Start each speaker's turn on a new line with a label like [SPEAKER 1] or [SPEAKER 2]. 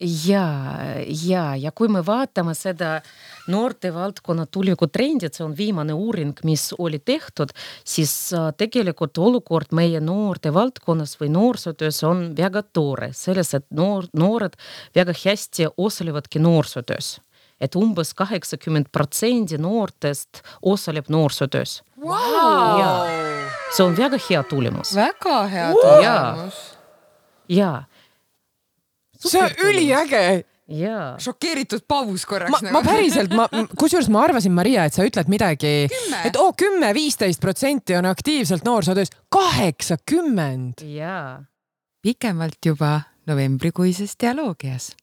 [SPEAKER 1] jaa, jaa, ja kui me vaatame seda noortevaldkonna tulevikutrendid, see on viimane uuring, mis oli tehtud, siis äh, tegelikult olukord meie noortevaldkonnas või noorsootöös on väga tore, selles, et noor, noored väga hästi osalevadki noorsootöös. et umbes kaheksakümmend protsendi noortest osaleb noorsootöös . jaa , see on väga hea tulemus
[SPEAKER 2] väga hea
[SPEAKER 1] Jaa.
[SPEAKER 2] tulemus .
[SPEAKER 1] jaa ,
[SPEAKER 3] see on üliäge .
[SPEAKER 1] jaa .
[SPEAKER 2] šokeeritud paus
[SPEAKER 3] ma
[SPEAKER 2] korraks . nagu.
[SPEAKER 3] ma päriselt , ma , kusjuures ma arvasin , Maria , et sa ütled midagi ,
[SPEAKER 2] Kümme.
[SPEAKER 3] et oo kümme , viisteist protsenti on aktiivselt noorsootöös , kaheksakümmend .
[SPEAKER 1] jaa
[SPEAKER 2] pikemalt juba novembrikuises dialoogias .